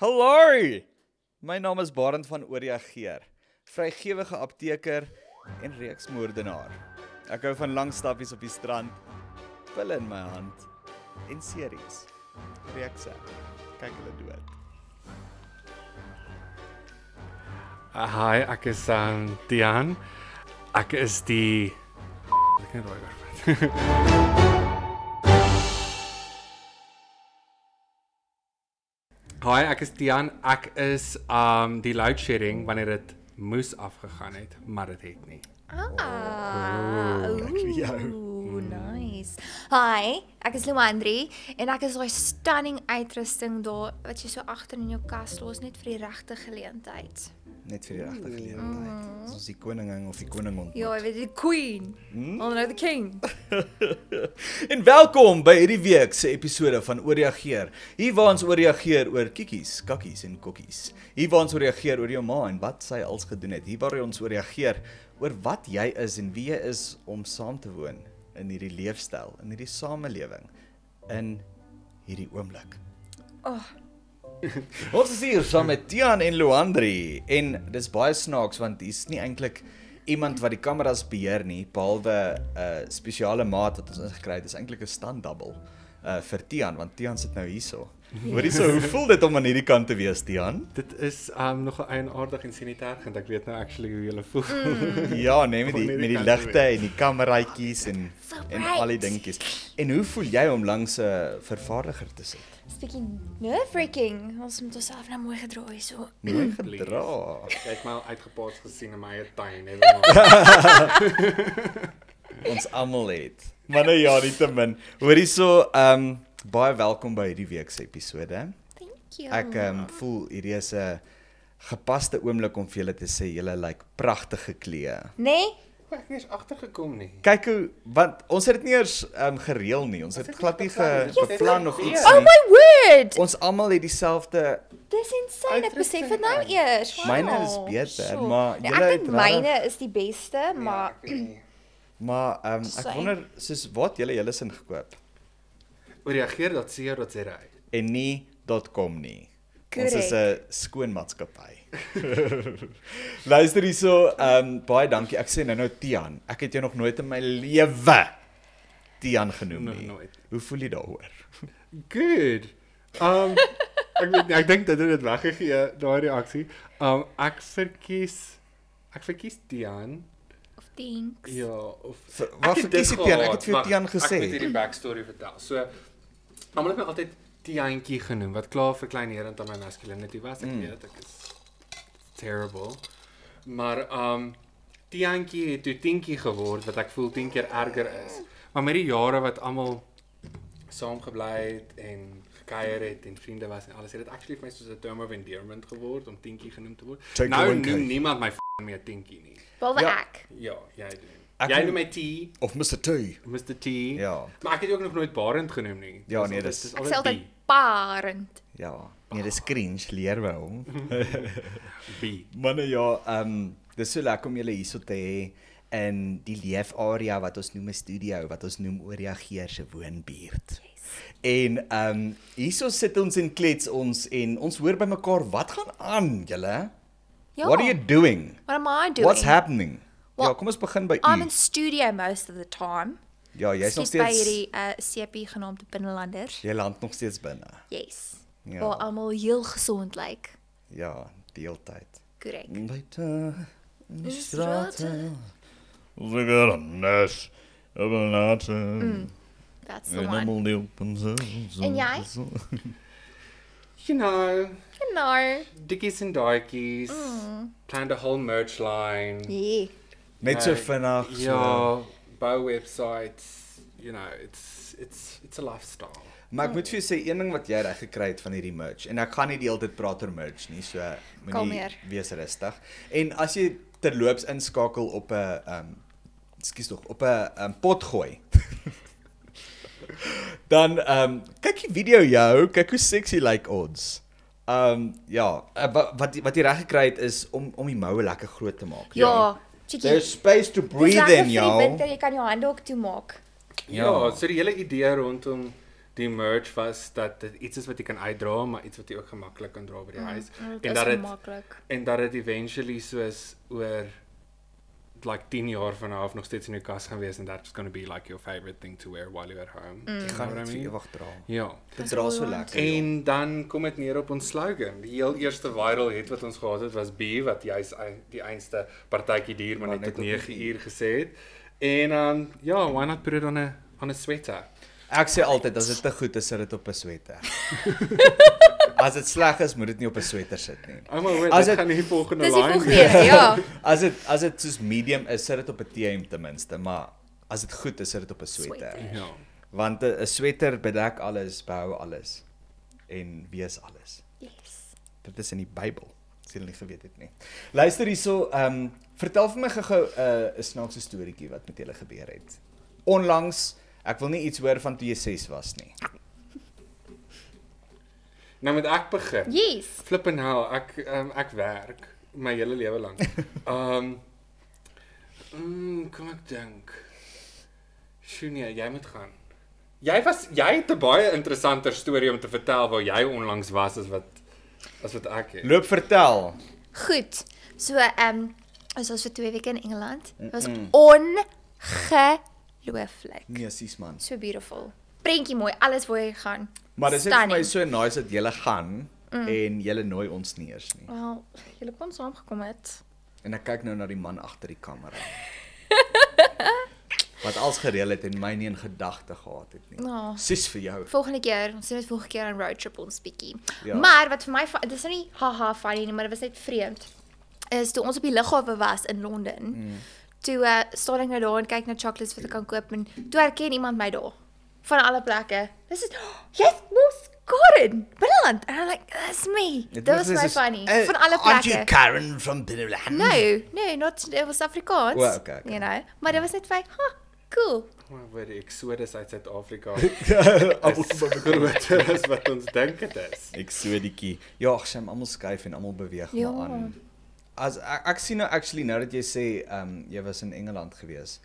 Hallo. My naam is Barend van Oreageer, vrygewige apteker en reeksmoordenaar. Ek hou van lang stappies op die strand, pille in my hand en series. Reekse. Kyk hulle dood. Uh, hi, ek is um Dian. Ek is die ek kan daai oor. Hi, ek is Dian. Ek is um die load shedding wanneer dit moes afgegaan het, maar dit het nie. Ah, vir jou. ooh, nice. Hi, ek is Luandri en ek is daai stunning uitrusting daar wat jy so agter in jou kas los net vir die regte geleentheid. Net vir die regte geleentheid. Soos die koningin of die koning ontmoet. Ja, jy weet die queen. Al nou die king. En welkom by hierdie week se episode van Oreageer. Hier waar ons oreageer oor kiekies, kakkies en kokkies. Hier waar ons oreageer oor jou ma en wat sy als gedoen het. Hier waar ons oreageer oor wat jy is en wie jy is om saam te woon in hierdie leefstyl, in hierdie samelewing, in hierdie oomblik. Oh. Ons is hier saam met Tian en Luandri en dis baie snaaks want hier's nie eintlik iemand wat die kameras beheer nie behalwe 'n uh, spesiale maat wat ons ingekry het. Dis eintlik 'n stand double uh vir Tian want Tian sit nou hierso. Ja. Hoor hierso, hoe voel dit om aan hierdie kant te wees, Tian? Dit is um nog 'n eienaardig en sanitêr kind. Ek weet nou actually hoe jy voel. Mm. Ja, nee met die Om aan met hierdie die kant te ligte en die kameraitjies en So en al die bright. dingetjies. En hoe voel jy om langs 'n vervaardiger te sit? Dis bietjie nerve-wracking. Ons moet onsself nou mooi gedraai so. Hmm. Mooi gedra. Jy het my al uitgepaas gesien in my eie tuin, hè. ons almal het. Maar nou ja, nie te min. Hoor hierso, ehm um, baie welkom by hierdie week se episode. Thank you. Ek ehm um, voel hierdie is 'n gepaste oomblik om vir julle te sê julle lyk like pragtige klee. Nee, Ek het nie agtergekom nie. Kyk hoe want ons het dit nie eers ehm um, gereël nie. Ons het glad nie ge, beplan of iets Oh nie. my word. Ons almal het dieselfde Dis insane. Ek besef dit nou Uitrusting. eers. Wow. Myne is beter, Sjoe. maar nee, julle ek dink het regtig- myne is die beste, Ja, maar maar ehm um, ek Same. wonder soos wat julle julle sin gekoop Oreageer dat seer dat sy ry. en nie .com nie. Ons is 'n skoon maatskappy. Luister hierso, ehm um, baie dankie. Ek sê nou-nou Tian. Ek het jou nog nooit in my lewe Tian genoem Nog nie. nooit. Hoe voel jy daaroor? Nee. Good. Um ek weet nie, ek dink dit het dit weggegee daai reaksie. Um ek verkies ek verkies Tian. of thanks. Ja, of Vir- waar Ek het dit verkies jy Tiaan? Ek het gehad. vir jou Wag, Tiaan gesê. Ek moet hierdie backstory vertel. So almal het my altyd Tiantjie genoem wat klaar verkleinerend aan my masculinity was. Ek mm. weet ek is terrible. Maar um Tiantjie het toe Tientjie geword wat ek voel 10 keer erger is. Maar met die jare wat almal saam gebly het en gekuier het en vriende was en alles het dit actually vir my soos 'n term of endearment geword om Tientjie genoem te word. Check the nou wink, hey. noem niemand my f***ing meer Tientjie nie. Behalwe Ja. ek. Ja, jy doen. Ek Ek jy noem- noem my T Of Mr T. Mr T. Ja. Maar ek het jou ook nog nooit Barend genoem nie. Ja, nee, altyd- dis- dis Ek sê altyd B. parent. Ja. Nee, dis cringe leer by hom. B. Manne ja, ehm um, dis so lekker om julle hierso te hê in die leefarea wat ons noem 'n studio, wat ons noem Oreageer se woonbuurt. En ehm um, hierso sit ons en klets ons en ons hoor by mekaar wat gaan aan julle? Ja. What are you doing? What am I doing? doing? What's happening? Well, Well, ja, kom ons begin by I'm in u. studio most of the time. Ja, jy's nog Skiet by steeds hierdie uh, CP genaamd binnelanders. jy land nog steeds binne. Yes. Ja. Ja. Waar almal heel gesond lyk. Ja, deeltyd. Korrek. Buite in die strate. strate. Zeker een nes hebben laten. That's Ja, Mm, the nou En one. helemaal die open zelfs. En jy? You know, No. Dickies en Daitjies. Mm. Planned a whole merch line. Yeah. Net so Like, vinnig. so- Ja, bou websites, you know, it's it's it's a lifestyle. Maar ek Mm. moet vir jou sê een ding wat jy reg gekry het van hierdie merch en ek gaan nie die hele tyd praat oor merch nie, so moenie Kalmeer. wees rustig. En as jy terloops inskakel op 'n um ekskuus tog, op 'n um, pot gooi. dan um kyk die video jou, kyk hoe sexy lyk like ons. Um ja, eh, wa- wat die- wat jy reg gekry het is om om die moue lekker groot te maak. Ja. Chickie. There's space to breathe in, Jy y'all. jy kan jou hande ook toe maak. Ja, so die hele idee rondom die merch was dat dit iets is wat jy kan uitdra, maar iets wat jy ook gemaklik kan dra by die huis. Mm, Oh, Dit is het- maklik. en dat dit eventually soos oor like 10 jaar van nou af nog steeds in jou kas gaan wees and that's going to be like your favorite thing to wear while you're at home. Mm. Jy gaan dit vir ewig dra. Ja. Dit Dis dra so cool. lekker. joh. En dan kom dit neer op ons slogan. Die heel eerste viral hit wat ons gehad het was B wat juis ei- die einste partytjie duur maar Maar net net tot op 9 9 uur gesê het. En dan um, ja, why not put it on a on a sweater? Ek sê altyd as dit te goed is, sit dit op 'n sweater. as dit sleg is, moet dit nie op 'n sweater sit nie. Oh my word, As dit het- gaan nie volgende Dis die line volgende wees. een, ja. As dit as dit soos medium is, sit dit op 'n T-hemp ten minste, maar as dit goed is, sit dit op 'n sweater. Sweater. Ja. Want 'n 'n sweater bedek alles, behou alles en wees alles. Yes. Dit is in die Bybel. As jy dit nie geweet het nie. Luister hierso, ehm um, vertel vir my gou-gou 'n uh, snaakse storieetjie wat met julle gebeur het. Onlangs, ek wil nie iets hoor van toe jy 6 was nie. Nou moet ek begin. Yes. Flippin hell, ek um, ek werk my hele lewe lank. Um mm, kom ek dink. Shunia, jy moet gaan. Jy was jy het 'n baie interessanter storie om te vertel waar jy onlangs was as wat as wat ek het. Loop vertel. Goed. So ehm um, ons was vir 2 weke in Engeland. Dit was ongelooflik. Nee, sies man. So beautiful. Prentjie mooi, alles waar jy gaan. Maar dis net vir my Stunning. so nice dat julle gaan mm. en julle nooi ons nie eers nie. Wel, julle kon saamgekom het. En ek kyk nou na die man agter die kamera. wat als gereël het en my nie in gedagte gehad het nie. Ja. Sies vir jou. Volgende keer, ons doen dit volgende keer aan road trip ons bietjie. Ja. Ja. Maar wat vir my va- dis nou nie haha funny nie, maar dit was net vreemd. Is toe ons op die lughawe was in Londen. Mm. Toe uh, staan ek nou daar en kyk na chocolates wat ek kan koop en toe herken iemand my daar van alle plekke. Dis is oh, jy's mos Karen, Binneland. En I'm like, that's me. Dit was my funny. Uh, Eh, van alle plekke. Nee. Karen from Binneland. No, no, not it was Afrikaans. O, okay, okay. You know, maar dit was net vir, ha, cool. Oh, word die Exodus uit Suid-Afrika No. is groter as wat ons dink dit is. Eksodiekie. Ja, ag, sy almal skuif en almal beweeg ja. Ja. maar aan. As ek, ek sien nou actually nou dat jy sê ehm um, jy was in Engeland gewees.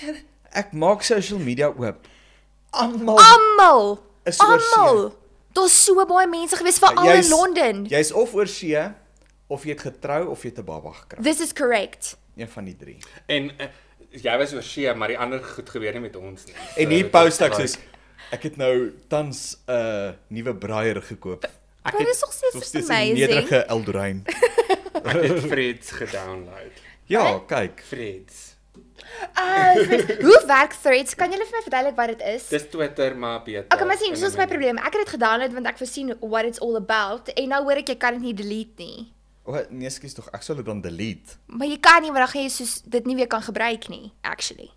Ja, Ek maak social media oop. Almal Almal. Oh. Is oor see. Almal. Daar's so baie mense gewees veral in Jy's- Londen. Jy's of oor see of jy het getrou of jy het 'n baba gekry. This is correct. Een van die drie. En uh, jy was oor see, maar die ander goed gebeur nie met ons nie. En So, hier dit post was ek like- soos ek het nou tans 'n uh, nuwe braaier gekoop. ek Maar het dis nog steeds, Nog steeds 'n amazing. nederige Eldorain. ek het Freds gedownload. Ja, kyk. Freds. Oh, Threads. hoe werk Threads? Kan julle vir my verduidelik wat dit is? Dis Twitter maar beter. Okay, maar sien, Ja, in dis is 'n my manier. probleem. Ek het dit gedownload want ek versien what it's all about en nou hoor ek jy kan dit nie delete nie. O, nee, skus tog, ek sal dit dan delete. Maar jy kan nie want dan gaan jy soos dit nie weer kan gebruik nie, actually.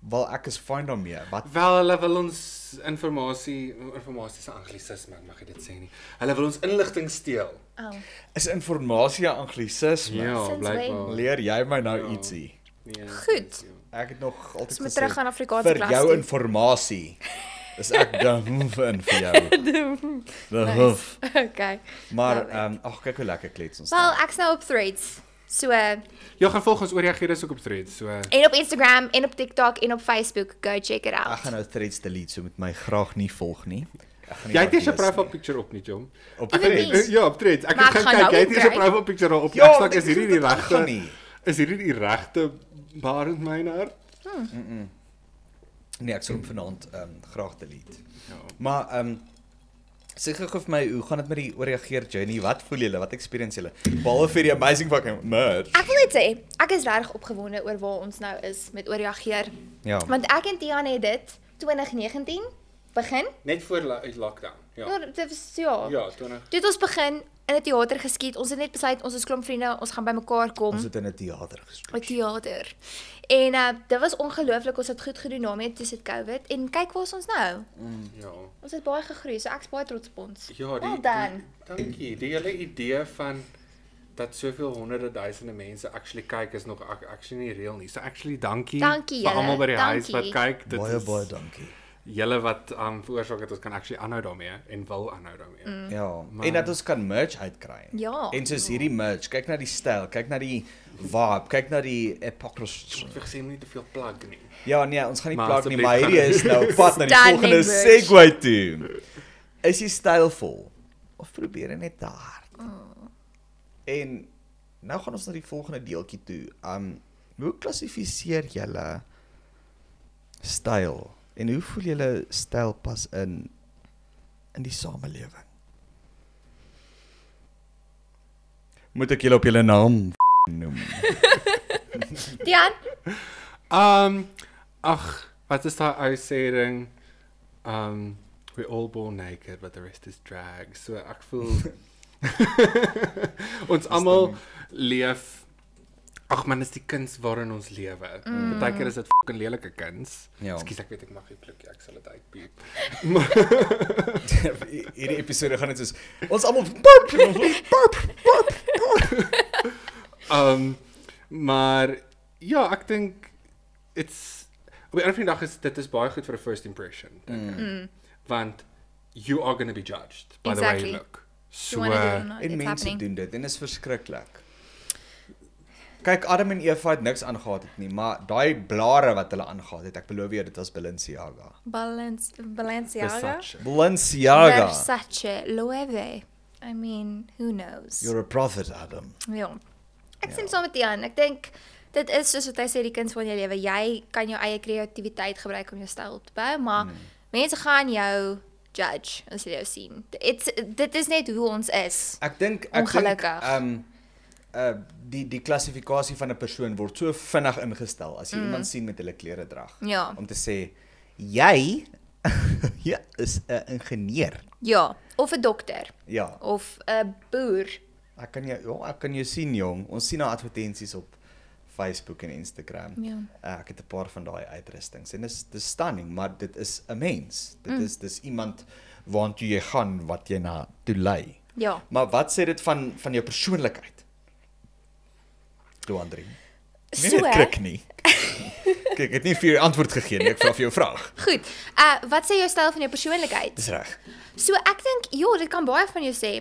Wel, ek is fine daarmee. Wat Wel, hulle wil ons inligting, inligting se anglisisme, ek mag jy dit sê nie. Hulle wil ons inligting steel. Oh. is informasie anglisisme? Ja. Since blykbaar. Leer jy my nou ja. ietsie? Nee, Goed. dit is jou. Ek het nog altyd Ons moet terug gaan Afrikaanse vir klas jou toe." informasie. Is ek dum in vir jou. The hoof. Okay. Maar Love it. ehm um, ag kyk hoe lekker klets ons. Wel, ek's nou op Threads. So uh, Jy Ja, gaan volg ons oorreageer is ook op threads. So eh, en op Instagram en op TikTok en op Facebook. Go check it out. Ek gaan nou threads delete, so met my graag nie volg nie. Ek gaan jy het eers 'n laat lees profile nie. picture op nee, nie, Jom. op Even threads. nie. Eh, Ja, op threads. Ek Maar het ek gaan gaan kyk, nou jy het eers 'n kry. profile picture daar op. Ja, Ja, ek dit sê is hierdie die moet ek gaan regte? nie. Is hierdie die regte Barend Meynard? Nee, ek sal hom vanaand ehm um, graag delete. Ja. Maar ehm um, sê gou vir my, hoe gaan dit met die oorreageer journey? Wat voel julle? Wat experience julle? Behalwe vir die amazing fucking merch. Ek wil net sê, ek is reg opgewonde oor waar ons nou is met oorreageer. Ja. Want ek en Tiaan het dit 2019 begin. Net voor la- lockdown. Ja, Ja. dit was ja. Ja, 20. Dit ons begin in 'n teater geskiet. Ons het net besluit ons is klomp vriende, ons gaan bymekaar kom. Ons het in 'n teater gespeel. 'n teater. En uh dit was ongelooflik. Ons het goed gedoen daarmee tussen COVID en kyk waar is ons nou. Ja. Ons het baie gegroei. So ek's baie trots op ons. Ja, die, well die done. dankie. Die hele idee van dat soveel honderde duisende mense actually kyk is nog ac- actually nie reël nie. So actually dankie. Dankie vir julle, almal by die huis dankie. wat kyk. Dit Baie is baie dankie. julle wat um veroorsaak het ons kan actually aanhou daarmee en wil aanhou daarmee. Mm. Ja, maar, en dat ons kan merch uitkry. Ja. En soos hierdie merch, kyk na die styl, kyk na die vibe, kyk na die epochros. Ek sê moenie te veel plug nie. Ja nee, ons gaan nie Maar plaag nie, asseblief maar hierdie gaan- is nou op pad na die Stunning volgende merch. segue toe. Is jy stylvol of probeer jy net te hard? En nou gaan ons na die volgende deeltjie toe. Um hoe klassifiseer julle styl en hoe voel julle styl pas in in die samelewing? Moet ek julle op julle naam noem? Dian, Um ag, wat is daai ou sê ding? Um we all born naked but the rest is drag. So ek voel ons almal leef Ag man, is die kuns waarin ons lewe. Mm. Partykeer is dit fucking lelike kuns. Ja. Ekskuus, ek weet ek mag nie plukkie, ek sal dit uitpiep. hierdie episode gaan dit soos ons almal burp burp burp. Um maar ja, ek dink it's op die einde van die dag is dit is baie goed vir 'n first impression. Mm. Mm. Want you are going to be judged by exactly. the way Exactly. you look. you So want to do it or uh, not? En It's mense happening. doen dit en is verskriklik. Kyk, Adam en Eva het niks aangegaan het nie, maar daai blare wat hulle aangegaan het, ek beloof jou dit was Balenciaga. Balance Balenciaga. Versace. Balenciaga. Versace, Loewe. I mean, who knows? You're a prophet, Adam. Ja. Ek stem saam met Jan. Ek dink dit is soos wat hy sê die kuns van jou lewe. Jy kan jou eie kreatiwiteit gebruik om jou styl op te bou, maar mm. mense gaan jou judge as hulle jou sien. It's dit is net hoe ons is. Ek dink ek dink Ongelukkig. ehm uh die die klassifikasie van 'n persoon word so vinnig ingestel as jy mm. iemand sien met hulle klere drag Ja. om te sê jy ja, is 'n ingenieur. Ja, of 'n dokter Ja. of 'n boer. Ek kan jou ja, ek kan jou sien jong. Ons sien nou advertensies op Facebook en Instagram. Ja. Uh, ek het 'n paar van daai uitrustings en dis dis stunning, maar dit is 'n mens. Dit mm. is dis iemand waantoe jy gaan wat jy na toe lei. Ja. Maar wat sê dit van van jou persoonlikheid? Doandri. Nee, So, dit krik nie. Kyk, ek het nie vir jou antwoord gegee nie. Ek vra vir jou 'n vraag. goed. Uh wat sê jou styl van jou persoonlikheid? Dis reg. So ek dink ja, dit kan baie van jou sê.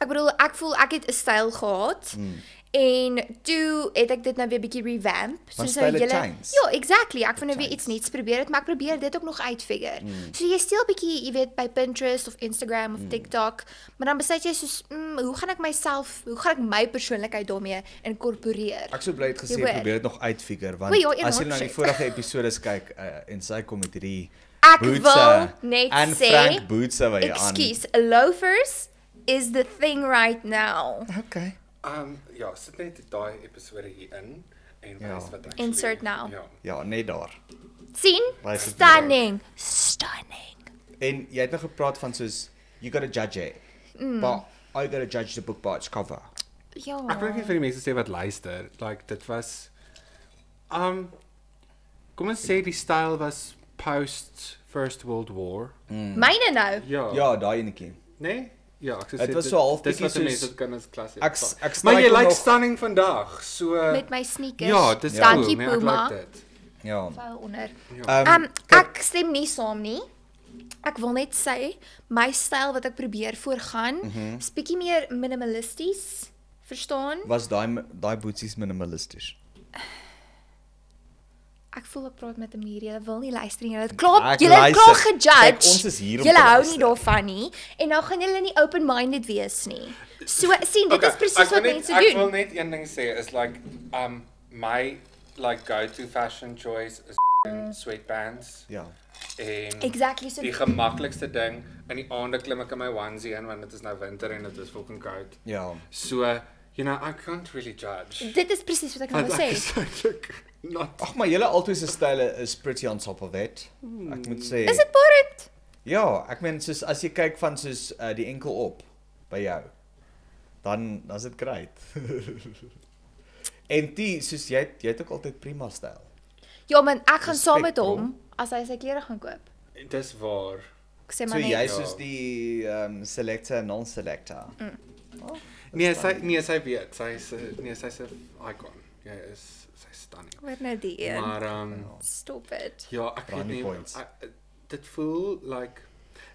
Ek bedoel, ek voel ek het 'n styl gehad. Hmm. Mm. En toe het ek dit nou weer bietjie revamp. Want nou style hele- change. Ja, exactly. Ek wil nou weer Change. iets nuuts probeer het, maar ek probeer dit ook nog uitfigure. Hmm. Mm. So jy steel bietjie, jy weet, by Pinterest of Instagram of mm. TikTok, maar dan besluit jy soos, mm, hoe gaan ek myself, hoe gaan ek my persoonlikheid daarmee inkorporeer? Ek sou bly het gesê You were. probeer dit nog uitfigure want Wait, you're in as jy na die hardship. vorige episode kyk uh, en sy kom met hierdie Ek bootse wil net en sê, Frank bootse wat jy aan. Excuse, loafers is the thing right now. Okay. um ja, sit net daai episode hier in en Ja. ja. wys wat ek Insert now. Ja. Ja, net daar. sien? Wys het weer Stunning. Stunning. En jy het nog gepraat van soos you got to judge it. Mm. But I got to judge the book by its cover. Ja. Ek wil ook net vir die mense sê wat luister, like dit was um kom ons sê die styl was post First World War. Mm. Myne nou. Ja. Ja, daai enetjie. Nee? Ja, ek sê Het was dit- so half dis bietjie wat die soos- mense dit kan as klassiek. Ek- vat. ek maar jy struikel lyk like nog- stunning vandag. So Met my sneakers. Ja, dis Ja. cool, Dankie, nee, ek Puma. like dit. Ja, Ja. Vuil onder. Ehm Um, um, ek stem nie saam nie. Ek wil net sê my styl wat ek probeer voorgaan, mm Mhm. -hmm. is bietjie meer minimalisties, verstaan? was daai daai bootsies minimalisties. Ek voel ek praat met 'n muur. Julle wil nie luister nie. Julle het klaar Ek julle het luister. klaar gejudge. Kyk, ons is hier om Julle te hou nie luister. daarvan nie en nou gaan julle nie open-minded wees nie. So sien, dit okay, is presies ek wil wat net- mense Ek wil doen. net een ding sê is like um my like go-to fashion choice is sweatpants Ja. en Exactly so. Die gemaklikste ding in die aande klim ek in my onesie in want dit is nou winter en dit is fucking koud. Ja. So, you know, I can't really judge. Dit is presies wat ek nou Want wil ek sê. is eintlik not Ag maar julle altyd se style is pretty on top of it. Ek moet sê. Is dit boring? Ja, ek meen soos as jy kyk van soos uh, die enkel op by jou, dan dan's dit great. en die soos jy het- jy het ook altyd prima styl. Ja, man, ek gaan saam met Respect, bro. hom as hy sy klere gaan koop. dis waar. Ek sê So Ja, maar jy net. is soos die ehm um, selector en non-selector. Mm. Nee, sy nee, sy weet. Sy is 'n- nee, sy's 'n icon. Jy is sy is stunning. Wat nou die een? Maar um Stop it. ja, ek weet Brownie nie. points. ek- uh, dit voel like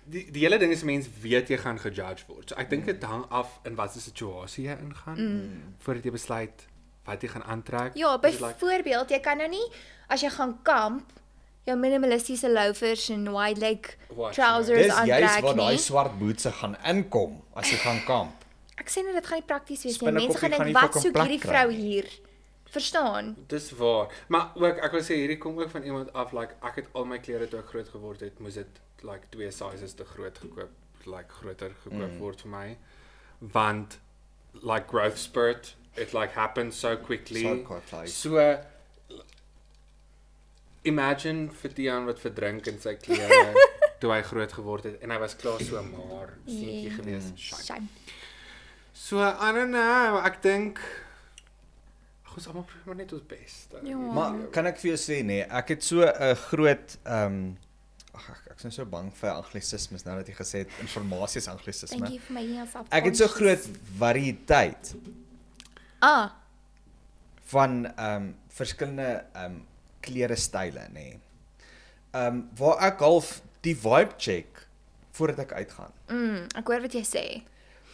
die die hele ding is mens weet jy gaan gejudge word. So ek dink Mm. dit hang af in watter situasie jy ingaan voordat jy besluit wat jy gaan aantrek. Ja, Is dit like- byvoorbeeld, jy kan nou nie as jy gaan kamp jou minimalistiese loafers en wide leg Wat, trousers Dis juist aantrek waar daai nie. swart bootse gaan inkom as jy gaan kamp. Ek sê net dit gaan nie prakties wees nie. Spinnekoppie Mense gaan gaan dink nie wat fucking soek plek hierdie kry vrou nie." hier? Verstaan? Dis waar. Maar ook ek wil sê hierdie kom ook van iemand af like ek het al my klere toe ek groot geword het, moes dit like twee sizes te groot gekoop, like groter gekoop mm. word vir my. Want like growth spurt, it like happens so quickly. So quickly. So imagine vir Dion wat verdrink in sy klere toe hy groot geword het en hy was klaar so maar seentjie Yeah. gewees. Mm, Shite. Nee. Shame. So I don't know, ek dink Ag, ons almal probeer maar net ons bes. Ja. Maar kan ek vir jou sê nee, ek het so 'n groot ehm um, ag ek- ek's nou so bang vir anglisismes nou dat jy gesê het informasie is anglisisme. Thank you for making us up. Ek het so groot variëteit Ah, van ehm um, verskillende ehm um, klere style nê. Nee. Ehm um, waar ek half die vibe check voordat ek uitgaan. mm, ek hoor wat jy sê.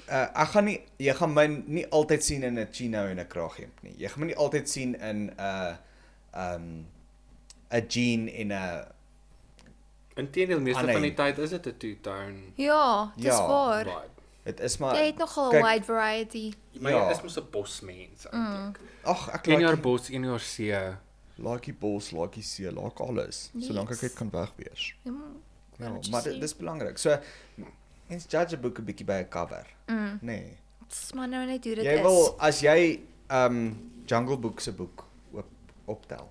Uh, ek gaan nie jy gaan my nie altyd sien in 'n chino en 'n kraaghemp nie. Jy gaan my nie altyd sien in 'n uh, um 'n jean en 'n Inteendeel, meeste Alleen. van die tyd is dit 'n two-tone Ja, dis Ja, ja, waar. vibe. dit is maar Jy het nogal 'n kyk, wide variety. Maar Ja. ja. jy is mos 'n bosmens eintlik. Ag ek Mm. Een jaar like bos, een jaar see. laakie bos, laakie see, laak alles, yes. solank ek Yes. dit kan wegwees. Mm, Ja, what you maar dit say. dis belangrik. So mens judge 'n boek 'n bietjie by 'n cover. Mm. Nee. Dis maar nou net hoe dit Jy is. wil as jy um Jungle Book se boek oop optel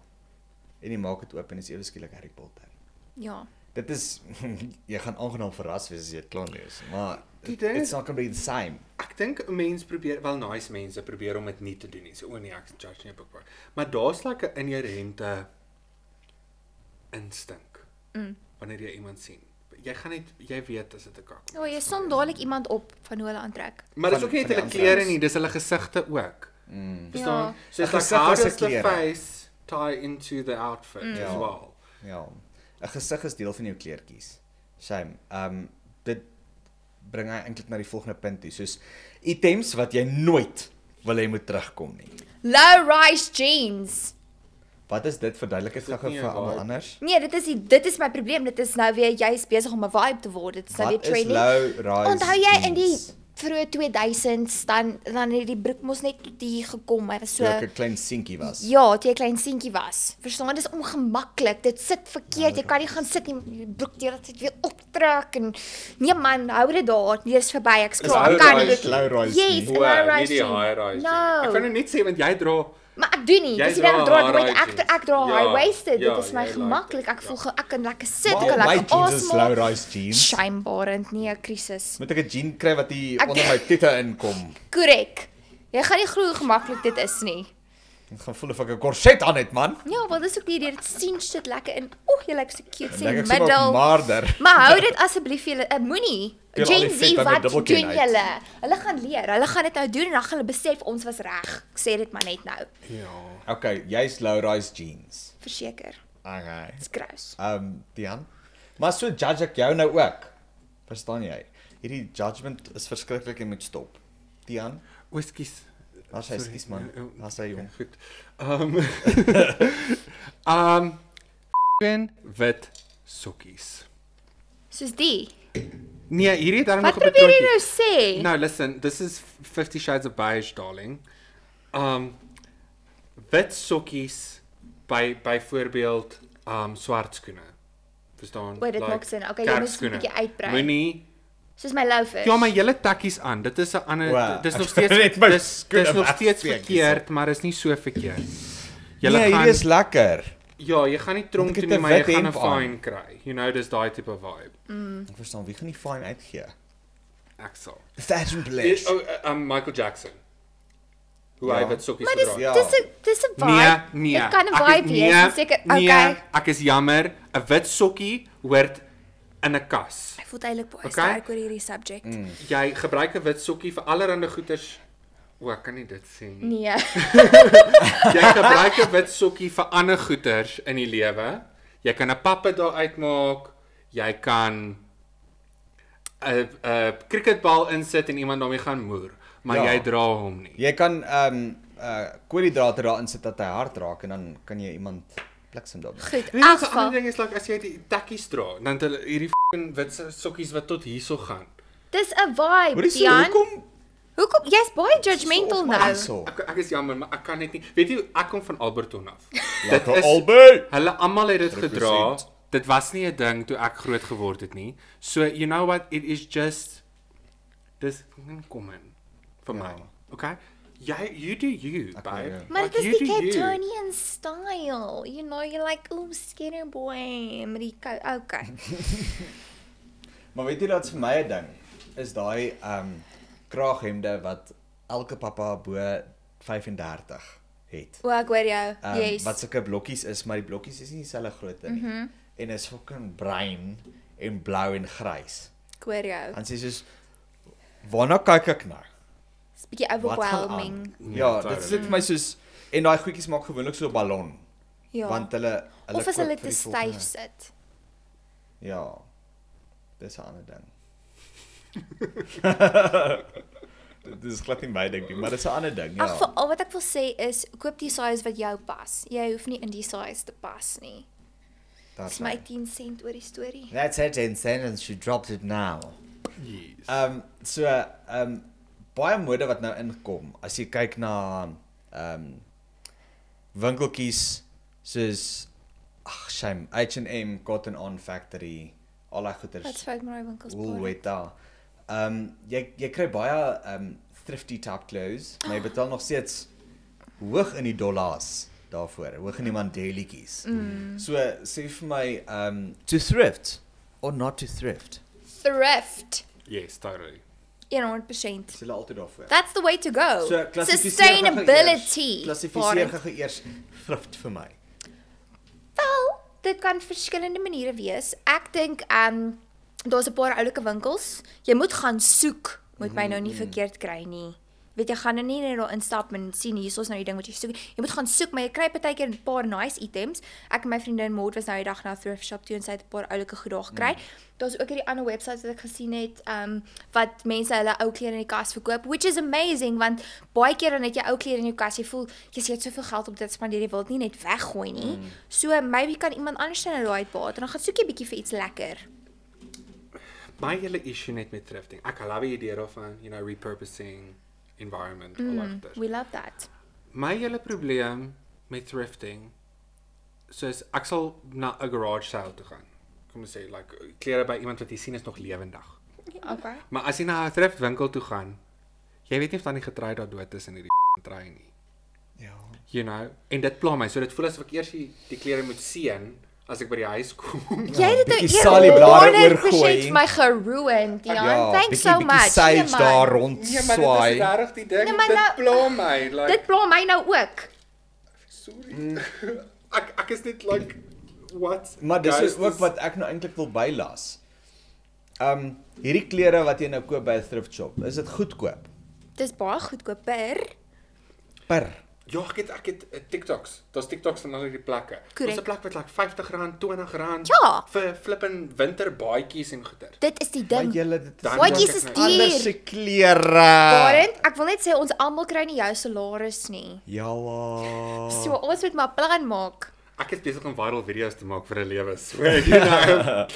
en jy maak dit oop en dit is ewe skielik Harry Potter. Ja. Dit is jy gaan aangenaam verras wees as jy dit klaar lees, maar Die it- ding it's is- not going to be the same. Ek dink 'n mens probeer, wel nice mense probeer om dit nie te doen nie. So o nee, ek judge nie op boek. Maar daar's like 'n inherente instink. Mm. Wanneer jy iemand sien, jy gaan net jy weet as dit 'n kak. Ja, jy som dadelik iemand op van hoe hulle aantrek. Maar dis Van- ook nie net van die hulle ander klere nie, dis hulle gesigte ook. Mm. Verstaan? Ja. Ja. So it's Een like gesig how is 'n does the klere. face tie into the outfit mm. as Ja. well? Ja. 'n Gesig is deel van jou kleertjies. Shame. Um dit bring hy eintlik na die volgende punt toe, soos items wat jy nooit wil hê moet terugkom nie. Low rise jeans. Wat is dit verduidelik dit dit gou-gou nie vir een almal vibe? anders? Nee, dit is die, dit is my probleem. Dit is nou weer jy's besig om 'n vibe te word. Dit is nou weer Wat is trendy. low rise? Onthou jy in die jeans? vroeë 2000s dan dan het die broek mos net tot hier gekom. Hy was so toe ek 'n klein seentjie was. Ja, toe jy 'n klein seentjie was. Verstaan, dis ongemaklik. Dit sit Ja, verkeerd. Jy kan nie gaan sit nie. Die broek deur dit weer optrek en nee man, hou dit daar. Nee, is verby. Ek's klaar. hou Ek Kan daai nie. shit. Low rise nie. Yes, en Wow, high nie die rise. high rise. No. Ek kan nou net sê want jy dra Maar ek doen nie. Jy Dis nie dat ek dra dra nooit high ek dra- ek dra jeans. high waisted. Ja, Dit is my jy like gemaklik. dit, Ek ja. voel ge- ek kan lekker sit, ek Al kan my lekker jeans is low asmaal. rise jeans. Skynbarend nie 'n krisis. Moet ek 'n jean kry wat hier Ek- onder my titte inkom? Korrek. Jy gaan nie glo hoe gemaklik dit is nie. Ek gaan voel of ek 'n korset aan het, man. Ja, wel dis ook die idee. Dit sien shit lekker in. Oeg, jy lyk so cute Dink sien ek sê maar middel. maarder. Maar hou dit asseblief julle uh, moenie. Deel al die Gen vet uit Z my wat doen dubbelkin uit. julle? Hulle gaan leer. Hulle gaan dit nou doen en dan gaan hulle besef ons was reg. Ek sê dit maar net nou. ja. Okay, jy's low rise jeans. Verseker. Okay. Dis gross. Um Dian. Maar so judge ek jou nou ook. Verstaan jy? Hierdie judgement is verskriklik en moet stop. Dian, Whiskies. waar sy skies man. Eh, Waar sy jong. Ja, oh. Goed. Ehm Ehm Ehm, um, wit sokkies. Soos die. Nee, hierdie het dan nog Wat op 'n probeer jy nou trotjie. sê? No, listen, this is 50 shades of beige, darling. Um wit sokkies by byvoorbeeld um swart skoene. Verstaan? O, dit maak sin. Okay, jy moes 'n kerkskoene. bietjie uitbrei. Moenie Soos my loafers. Ja, maar julle takkies aan. Dit is 'n ander Wow. wow. dis Ek nog wou steeds net my dis, skoene dis nog steeds wegsteek verkeerd, maar is nie so verkeerd. Nee, Julle nee, gaan hierdie is is... lekker. ja, jy gaan nie tronk Moet ek toe het nie, een maar jy wit gaan 'n hemp aan? fine kry. You know, dis daai tipe vibe. Ek verstaan, wie gaan die fine uitgee? Ek sal. Fashion Is bless. oh, uh, um Michael Jackson. Hoe Ja. hy wit sokkies Maar gedra dis Ja. het. dis 'n dis 'n vibe. Nee, nee. Dit kan 'n Ek vibe is- wees. nee, dis Seker. Nee, Okay. ek is jammer. 'n Wit sokkie hoort in 'n kas. Ek voel eintlik baie Okay. sterk oor hierdie subject. Mm. Jy gebruik 'n wit sokkie vir allerlei goeders. O, ek kan nie dit sê nie. Nee. Jy gebruik 'n wit sokkie vir ander goeders in die lewe. Jy kan 'n pappe daar uitmaak. Jy kan 'n 'n cricketbal insit en iemand daarmee gaan moer, maar Ja. ja. jy dra hom nie. Jy kan ehm um, uh koolhidrate daarin sit dat hy hard raak en dan kan jy iemand bliksem daarmee. Goed, Nee, dis 'n afval. ander ding is like as jy die tekkies dra, dan het hulle hierdie f***ing wit sokkies wat tot hierso gaan. Dis 'n vibe, Hoorie, so, Tian. hoekom Hoekom jy's baie judgmental Of maar nou? hierso. Ek ek is jammer, maar ek kan net nie. Weet jy, ek kom van Alberton af. Lekker is- albei. Hulle almal het dit gedra. Represent. Dit was nie 'n ding toe ek groot geword het nie. So you know what, it is just dis kom in vir my. Okay? Jy you do you, babe. ja. Maar Like, dit you is die do you. Capetonian style. You know, you're like, "Ooh, skinner boy." Met die kou- okay. Maar weet jy wat vir my 'n ding is daai ehm um, kraaghemde wat elke pappa bo 35 het. O, ek hoor jou. Ehm Yes. Mhm. wat sulke blokkies is, maar die blokkies is nie dieselfde grootte nie. Mm -hmm. En is fucking bruin en blou en grys. Ek hoor jou. Dan sê jy soos waarna kyk ek nou? Dis 'n bietjie Wat gaan aan? overwhelming. Ja, totally. dit is net vir my soos en daai goedjies maak gewoonlik so 'n ballon. Ja. Want hulle hulle of koop as hulle vir te die volgende- styf sit. Ja. Dis 'n ander ding. dit is glad nie my ding nie, maar dis 'n ander ding, ja. Ag, vir al wat ek wil sê is koop die size wat jou pas. Jy hoef nie in die size te pas nie. Dis That's my right. 10 sent oor die storie. That's her 10 cent and she dropped it now. Yes. Um so um baie mode wat nou inkom. As jy kyk na um winkeltjies soos ag shame H&M, Cotton On Factory, al daai goeders. Wat sê my winkels baie? Woolweta. Ehm um, jy jy kry baie ehm um, thrifty type clothes, maar jy betaal nog steeds hoog in die dollars daarvoor, hoog in die mandelietjies. Mm. So sê vir my ehm um, to thrift or not to thrift. Thrift. Yes, totally. 100%. Dis hulle altyd daarvoor. That's the way to go. So klassifiseer gou-gou eers. Sustainability. Klassifiseer Barend. gou-gou eers thrift vir my. Wel, dit kan verskillende maniere wees. Ek dink ehm um, daar's 'n paar oulike winkels. Jy moet gaan soek, moet my nou nie verkeerd kry nie. Jy weet jy gaan nou nie net daar instap en sien hier is nou die ding wat jy soek. Jy moet gaan soek, maar jy kry partykeer 'n paar nice items. Ek en my vriendin Maud was nou die dag na 'n thrift shop toe en sy het 'n paar oulike goed daar gekry. Daar's ook hierdie ander websites wat ek gesien het, ehm um, wat mense hulle ou klere in die kas verkoop, which is amazing want baie keer dan het jy ou klere in jou kas, jy voel jy sê jy het soveel geld op dit spandeer, jy wil dit nie net weggooi nie. Mm. So maybe kan iemand anders dan daai baat en dan gaan soek jy bietjie vir iets lekker. My hele issue net met thrifting. Ek hou die idee daarvan, you know, repurposing environment all of that. We love that. My hele probleem met thrifting soos ek sal na 'n garage sale toe gaan. Kom ons sê like klere by iemand wat jy sien is nog lewendig. Okay. Maar as jy na 'n thrift winkel toe gaan, jy weet nie of dan die getrei daar dood is in hierdie trei nie. Ja. You know, en dit pla my, so dit voel asof ek eers die, die klere moet seën as ek by die huis kom. Jy het dit bietjie eer salieblare 100% oorgooi. My geruined, Jan. Ja, Thanks so much. Nee, Sage man. daar rond Nee, maar dit is swaai. regtig die ding. Nee, Nee, maar dit nou- nou, pla my, like Dit pla my nou ook. sorry. ek ek is net like what? Maar dis Guys, is ook wat ek nou eintlik wil bylas. Um hierdie klere wat jy nou koop by 'n thrift shop, is dit goedkoop? Dis baie goedkoper. Per. Ja, ek het ek het eh, TikToks. Daar's TikToks van al die plekke. Correct. Ons 'n plek wat like R50, R20 Ja. vir flippin winterbaadjies en goeder. Dit is die Maar ding. julle dit Dan- Baadjies is Maak ek nou- Alles duur. se klere. Barend, ek wil net sê ons almal kry nie jou salaris nie. Ja. So ons moet maar plan maak. Ek is besig om viral video's te maak vir 'n lewe. So, you know.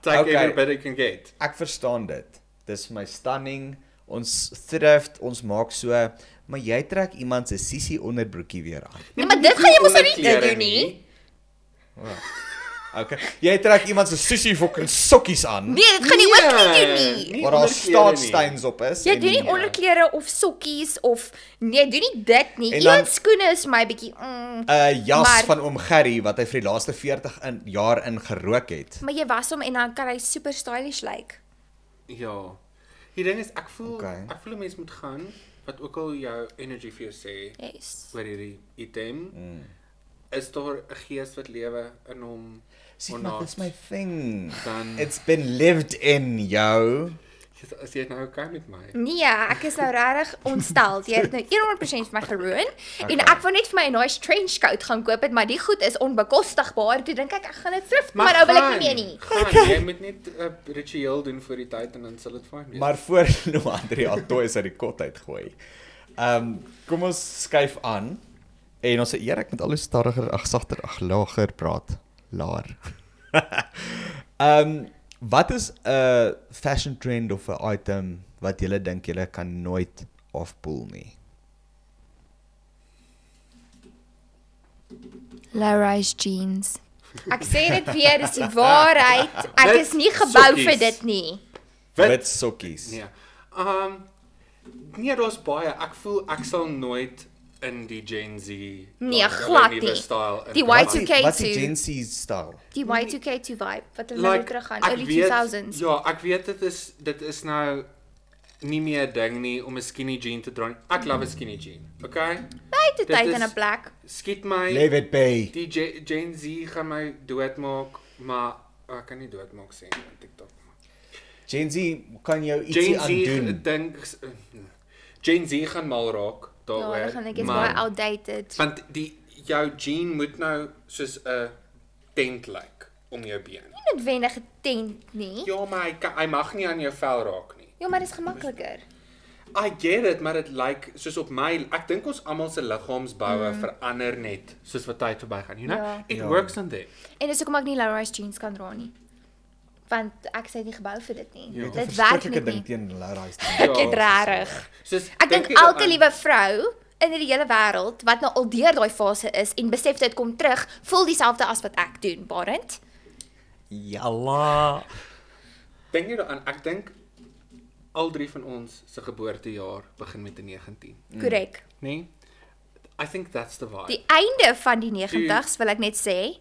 Take Okay. okay. every bit you can get. Ek verstaan dit. Dis vir my stunning. Ons thrift, ons maak so, maar jy trek iemand se sissie onderbroekie weer aan. Nee, maar dit gaan jy mos nou nie Onderklere doen nie. Okay. Jy trek iemand se sissie fucking sokkies aan Nee, nee. dit gaan jy ook nie doen nie. Nee. waar daar onderklere nie. staatsteins op is. Jy en- doen nie onderklere of sokkies of nee, doen nie dit nie. En dan- Een skoene is my bietjie. Mm, 'n jas Maar- van oom Gerry wat hy vir die laaste 40 in, jaar in gerook het. maar jy was hom en dan kan hy super stylish lyk. Ja. Die ding is ek voel Okay. okay. ek voel 'n mens moet gaan wat ook al jou energy vir jou sê Like. Yes. oor hierdie item. Mm. Is daar 'n gees wat lewe in hom? Sien, or maar not? dis my thing. Dan- It's been lived in, yo. Is is jy nou okay met my? Nee, ek is nou regtig ontstel. Jy het nou 100% vir my geroon en ek wou net vir my 'n nice trench coat gaan koop het, maar die goed is onbekostigbaar. Toe dink ek ek gaan dit thrift, maar, nou wil ek nie meer nie. Gaan, okay. jy moet net 'n uh, ritueel doen vir die tyd en dan sal dit fyn wees. Maar voor Lou Andrea toys uit die kot uitgooi. Ehm um, kom ons skuif aan en ons se eer ek met al hoe stadiger ag sagter ag lager praat. Laer. Ehm wat is 'n fashion trend of 'n item wat julle dink julle kan nooit afpool nie? Low-rise jeans. Ek sê dit weer, dis die waarheid. Ek Met is nie gebou sokkies. vir dit nie. Wit- Wit sokkies. Nee. Ehm nee, daar's baie. Ek voel ek sal nooit in die Gen Z Nee, daai hele glad nuwe nie. style in- Die Wat- Wat is Y2K wat is toe. Gen Z style? Die Y2K2 vibe wat hulle like, nou terug gaan, ek early weet- 2000s. Ja, ek weet dit is dit is nou nie meer 'n ding nie om 'n skinny jean te dra. nie. Ek love 'n skinny jean. Okay? Hy het dit dit in is- 'n Ja, plek. Skiet my Leave it be. die Ge- Gen Z gaan my doodmaak, maar oh, ek kan nie doodmaak sê nie op TikTok. Gen Z kan jou ietsie Gen Z aandoen. dink eh, Gen Z gaan mal raak Ja, daaroor. hulle gaan ek is maar- baie outdated. Want die jou jean moet nou soos 'n tent lyk om jou been. Nie noodwendig 'n tent nie. Ja, maar hy, kan, hy mag nie aan jou vel raak nie. Ja, maar dis gemakliker. I get it, maar dit lyk soos op my ek dink ons almal se liggaamsboue mm. verander net soos wat tyd verbygaan, you know? Ja. It Ja. works on them. En dis hoekom ek nie low-rise jeans kan dra nie. Want ek sê nie gebou vir dit nie. Ja, Dit dit is 'n werk verskriklike net ding nie. teen Larry's. ding. Ek Ja. het regtig. Soos Ek dink jy elke aan- liewe vrou in die hele wêreld wat nou al deur daai fase is en besef dit kom terug, voel dieselfde as wat ek doen, Barend. Jalla. Dink jy daaraan? Ek dink al drie van ons se geboortejaar begin met 'n 19, Korrek. nê? Nee? I think that's the vibe. Die einde van die 90s wil ek net sê,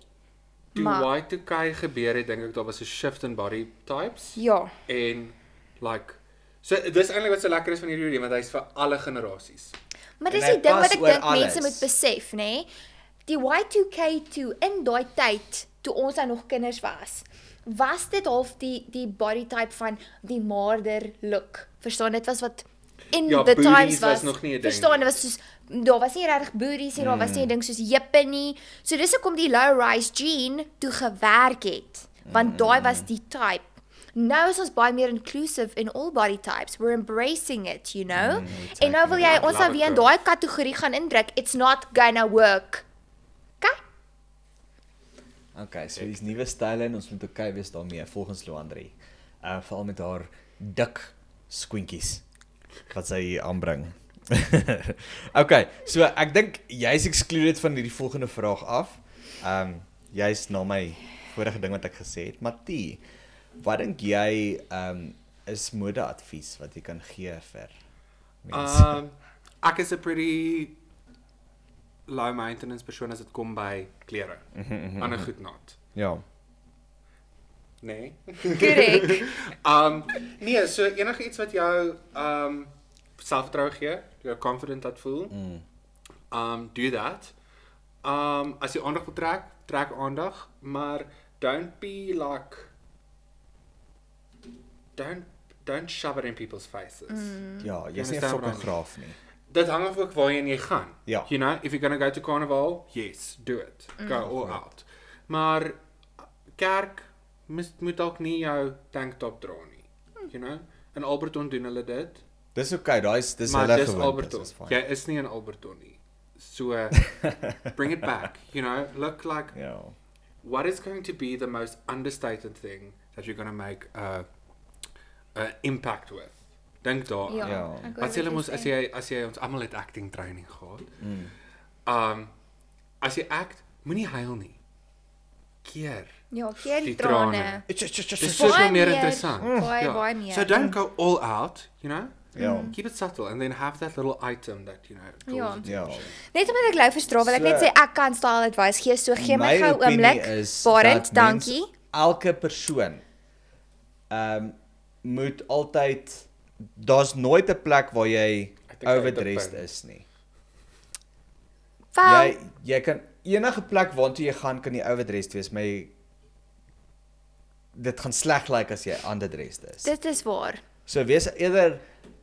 Toe Maar- Y2K gebeur het, dink ek daar was 'n shift in body types. ja, en like so dis eintlik wat so lekker is van hierdie video want hy's vir alle generasies. Maar En dis hy die ding pas wat ek oor dink mense alles. moet besef, nê? Nee? Die Y2K2 in daai tyd toe ons nou nog kinders was, was dit half die die body type van die maarder look. Verstaan, dit was wat in Ja, the booties times was was. nog nie 'n ding Hmm. verstaan, nie. dit was soos daar was nie regtig booties nie, daar was nie 'n ding soos heupe nie. So dis hoekom die low-rise jean toe gewerk het, Hmm. want daai was die type. Now is ons baie meer inclusive in all body types. We're embracing it, you know? Mm, en nou wil jy Ja, ons nou love it, weer in girl. daai kategorie gaan indruk. It's not gonna work. Okay? Okay, so dis nuwe style en ons moet okay wees daarmee volgens Loandri. Uh veral met haar dik skoentjies wat sy hier aanbring. okay, so ek dink jy's excluded van hierdie volgende vraag af. Um jy's na my vorige ding wat ek gesê het, Matie. Wat dink jy um is modeadvies wat jy kan gee vir mense? Uh, Um ek is 'n pretty low maintenance persoon as dit kom by klere. Ander goed nat, ja. nê? Nee. Korrek. Um nee, so enige iets wat jou um selfvertroue gee, jou confident laat voel. Mm. Um do that. Um as jy aandag wil trek, trek aandag, maar don't be like don't don't shove it in people's faces. Mm. Ja, jy's nie Jy 'n understand fucking what I mean. graaf nie. Dit hang af ook waarheen jy gaan. Ja. You know, if you're going to go to carnival, yes, do it. Mm. Go Ja. all out. Maar kerk mis, moet dalk nie jou tank top dra nie. You know? In Alberton doen hulle dit. Dis okay, daai is dis maar hulle dis gewoontes. Alberton. Dis fyn. Jy is nie in Alberton nie. So bring it back, you know, look like Ja. what is going to be the most understated thing that you're going to make a a impact with. Dink daaraan. Ja. Ja. ek hoor As jy wat mos as sê. jy as jy ons almal het acting training gehad. Mm. Um as jy act, moenie huil nie. Keer. Ja, keer die die trane. trane. Dis Dis so baie veel meer meer, Mm. interessant. baie, baie meer. So don't go all out, you know? Ja. Keep it subtle and then have that little item that you know. draws Ja. it. ja. Net omdat ek lou verstra wil ek net So- sê ek kan style advice gee, so gee my gou opinie oomblik. is dat Barend, mens- dankie. Elke persoon ehm um, moet altyd daar's nooit 'n plek waar jy Ek dink hy het 'n overdressed punt. is nie. Wel, Jy jy kan enige plek waartoe jy gaan kan jy overdressed wees, maar jy, dit gaan sleg lyk like as jy underdressed is. dit is waar. So wees eerder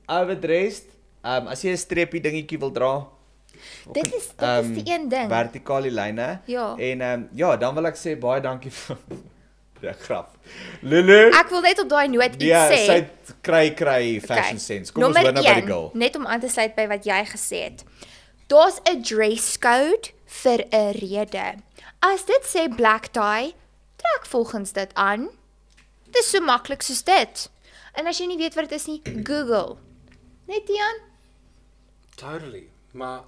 overdressed. Ehm um, as jy 'n streepie dingetjie wil dra, Dit is dit is die een ding. Vertikale Ehm, lyne. Ja. En ehm um, ja, dan wil ek sê baie dankie vir die grap. Lulu. Ek wil net op daai noot iets Ja, sê. sy het kry kry fashion Okay, sense. Kom ons hoor nou by die een, girl. Net om aan te sluit by wat jy gesê het. Daar's 'n dress code vir 'n rede. As dit sê black tie, trek volgens dit aan. Dis so maklik soos dit. En as jy nie weet wat dit is nie, Google. Net Ian, Totally. Maar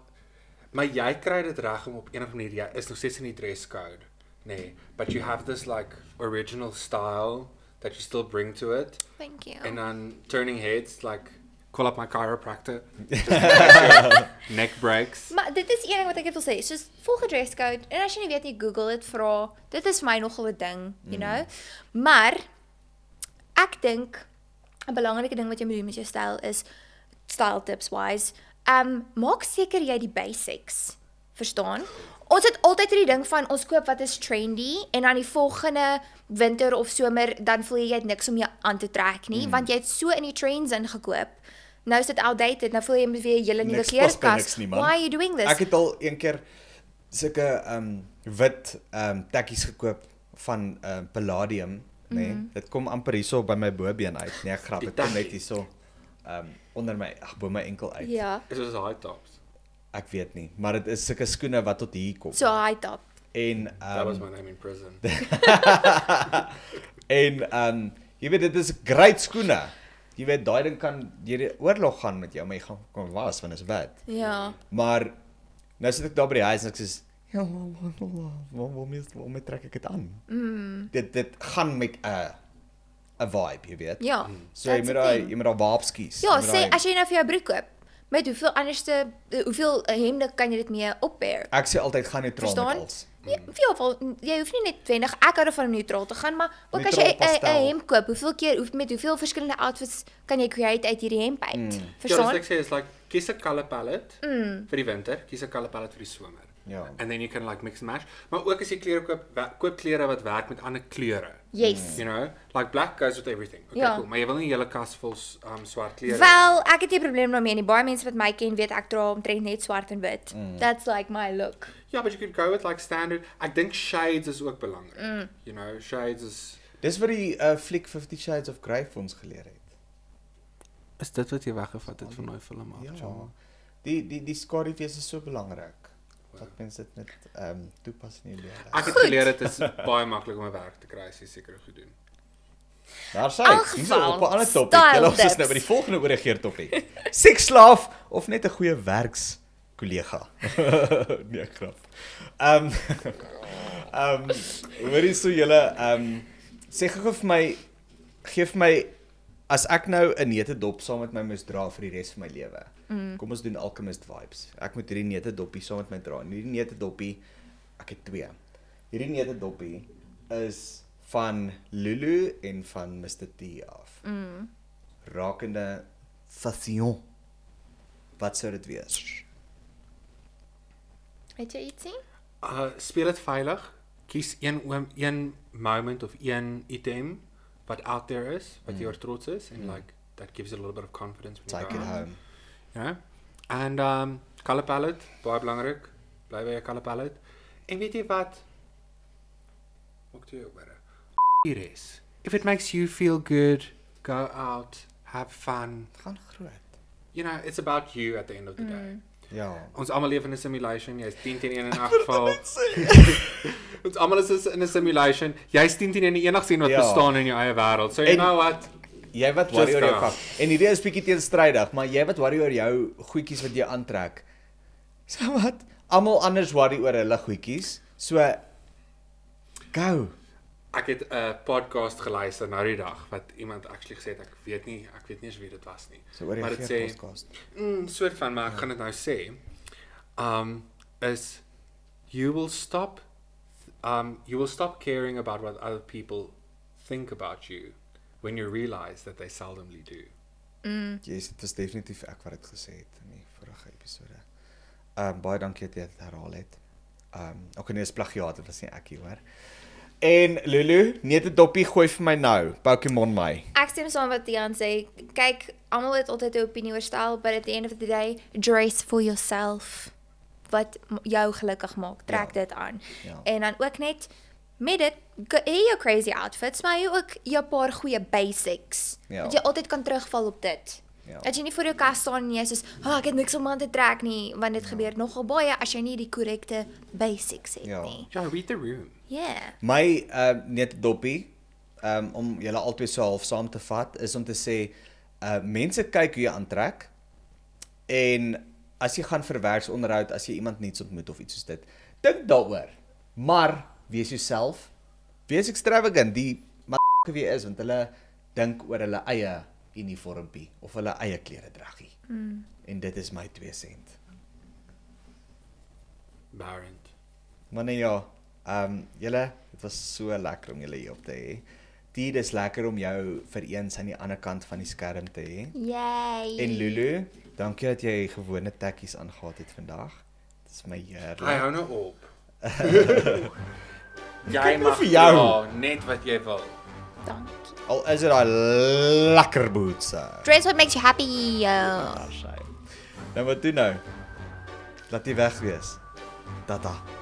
maar jy kry dit reg om op enige manier jy is nog steeds in die dress code, nê, nee, but you have this like original style that you still bring to it thank you. and then turning heads like call up my chiropractor. neck breaks. Maar dit is een ding wat ek net wil sê, soos volg 'n dress code en as jy nie weet nie, Google dit vra. Dit is vir my nogal 'n ding, you know. Mm. Maar ek dink 'n belangrike ding wat jy moet doen met jou styl is style tips wise. Um maak seker jy die basics verstaan. Ons het altyd hierdie ding van ons koop wat is trendy en dan die volgende winter of somer dan voel jy jy het niks om jou aan te trek nie, mm. want jy het so in die trends ingekoop. Nou is dit outdated. Nou voel jy jy moet weer 'n hele nuwe Niks pas by kleerkas. niks nie, man. Why are you doing this? Ek het al een keer sulke ehm um, wit ehm um, tekkies gekoop van ehm um, Palladium, nê. Nee. Mhm. Mm -hmm. Dit kom amper hierso by my bobeen uit. Nee, ek grap, Die dit kom net tekkie. hierso ehm um, onder my ag bo my enkel uit. Ja. It was high tops. Ek weet nie, maar dit is sulke skoene wat tot hier kom. So high top. en That ehm was um, my name in prison. en ehm um, jy weet dit is great skoene. Jy weet daai ding kan hierdie oorlog gaan met jou, maar jy gaan kom was want dit is wit. Ja. Maar nou sit ek daar by die huis en ek sê ja, waarom is waarom trek ek dit aan? Mm. Dit dit gaan met 'n 'n vibe, jy weet. Ja. Hmm. So jy that's moet the daai thing. jy moet daai waps kies. Ja, jy moet sê daai- as jy nou vir jou broek koop, met hoeveel anderste eh, hoeveel hemde kan jy dit mee oppair? ek sê altyd gaan neutraal met Verstaan? alles. Hmm. Ja, vir jou val, jy hoef nie net wendig ek hou daarvan om neutraal te gaan, maar ook as jy Neutraal 'n- 'n- 'n pastel. hemp koop, hoeveel keer hoef met hoeveel verskillende outfits kan jy create uit hierdie hemp uit? Hmm. Mm. Ja, dis Verstaan? ek sê is like kies 'n color palette mm. vir die winter, kies 'n color palette vir die somer. Ja. And then you can like mix and match. Maar ook as jy klere koop, wa- koop klere wat werk met ander kleure. Yes. Mm. You know, like black goes with everything. Okay, Ja. ja. cool. Maar jy wil nie 'n hele kas vol s- um swart klere. Wel, ek het nie 'n probleem daarmee nie. Baie mense wat my ken weet ek dra omtrent net swart en wit. Hmm. Mm. That's like my look. Ja, but you could go with like standard. Ek dink shades is ook belangrik. Mm. You know, shades is Dis wat die uh, fliek 50 Shades of Grey vir ons geleer het. Is dit wat jy weggevat het van daai film af? Ja. Die die die skaduwees is so belangrik. Dat mense dit net ehm um, toepas in die lewe. Ek het Goed. geleer dit is baie maklik om 'n werk te kry as jy seker goed doen. Daar sê elk ek, dis op 'n geval, ander topik. style Julle ons is tips. nou by die volgende oorregeer topik. Seksslaaf of net 'n goeie werks kollega. nee, grap. Ehm ehm hoor hierso julle ehm sê gou vir my gee vir my as ek nou 'n netedop saam met my moes dra vir die res van my lewe. Mm. Kom ons doen alchemist vibes. Ek moet hierdie netedoppie saam met my dra. En hierdie netedoppie ek het twee. Hierdie netedoppie is van Lulu en van Mr T af. Mm. Rakende fashion. Wat sou dit wees? Weet jy ietsie? Uh speel dit veilig. Kies een oom een moment of een item wat out there is, wat jy oor trots is and like that gives you a little bit of confidence when you Mm. Take go it out. home. Ja. And um color palette, baie belangrik. Bly by jou color palette. En weet jy wat? Maak dit jou beter. Hier is. If it makes you feel good, go out, have fun. Gaan groot. You know, it's about you at the end of the day. Mm. Ja. Ons almal leef in 'n simulation. Jy's 10 teen 1 in 'n geval. Ons almal is is in 'n simulation. Jy's 10 teen 1 enig sien wat Ja. ja. bestaan in jou eie wêreld. So you En- en, know what? Jy wat worry Just oor jou go. kak. En hierdie is bietjie teenstrydig, maar jy wat worry oor jou goedjies wat jy aantrek. So wat? Almal anders worry oor hulle goedjies. So go. Ek het 'n podcast geluister nou die dag wat iemand actually gesê het ek weet nie, ek weet nie eens wie dit was nie. So oor maar die dit sê podcast. Ja. mm, soort van maar ek gaan dit nou sê. Um is you will stop um you will stop caring about what other people think about you when you realize that they seldomly do. Jy's dit was definitief ek wat dit gesê het in die vorige episode. Ehm um, baie dankie dat jy dit herhaal het. Ehm um, ok nee, is plagiaat, dit was nie ek hier hoor. En Lulu, net 'n doppie gooi vir my nou. Pokémon my. Ek stem saam wat Dion sê. Kyk, almal het altyd 'n opinie oor styl, but at the end of the day, dress for yourself. Wat m- jou gelukkig maak, trek dit aan. Ja. En dan ook net met dit k- hê jou crazy outfits, maar hê ook jou paar goeie basics. Ja. Dat jy altyd kan terugval op dit. Ja. Dat jy nie voor jou kas staan en jy is soos, "Ag, oh, ek het niks om aan te trek nie," want dit gebeur nogal baie as jy nie die korrekte basics het Ja. nie. Ja, read the room. Yeah. My ehm net 'n doppie ehm om julle albei so half saam te vat is om te sê uh mense kyk hoe jy aantrek en as jy gaan vir werksonderhoud, as jy iemand nuuts ontmoet of iets soos dit, dink daaroor. Maar wees jouself. Wees extravagant, die maar wie jy is want hulle dink oor hulle eie uniformpie of hulle eie klere draggie. Mm. En dit is my 2 sent. Barrent. Maar nee ja, ehm um, julle, dit was so lekker om julle hier op te hê. Dit is lekker om jou vir eens aan die ander kant van die skerm te hê. Yay. En Lulu, dankie dat jy gewone tekkies aangetree het vandag. Dit is my Hy heerlik. hou nou op. Kyk nou vir jou. dra net wat jy wil. Dankie. Al is dit daai lekker bootse. Dress what makes you happy. Uh. Daarsy. Nou wat doen nou? Laat dit weg wees. Tata. -ta.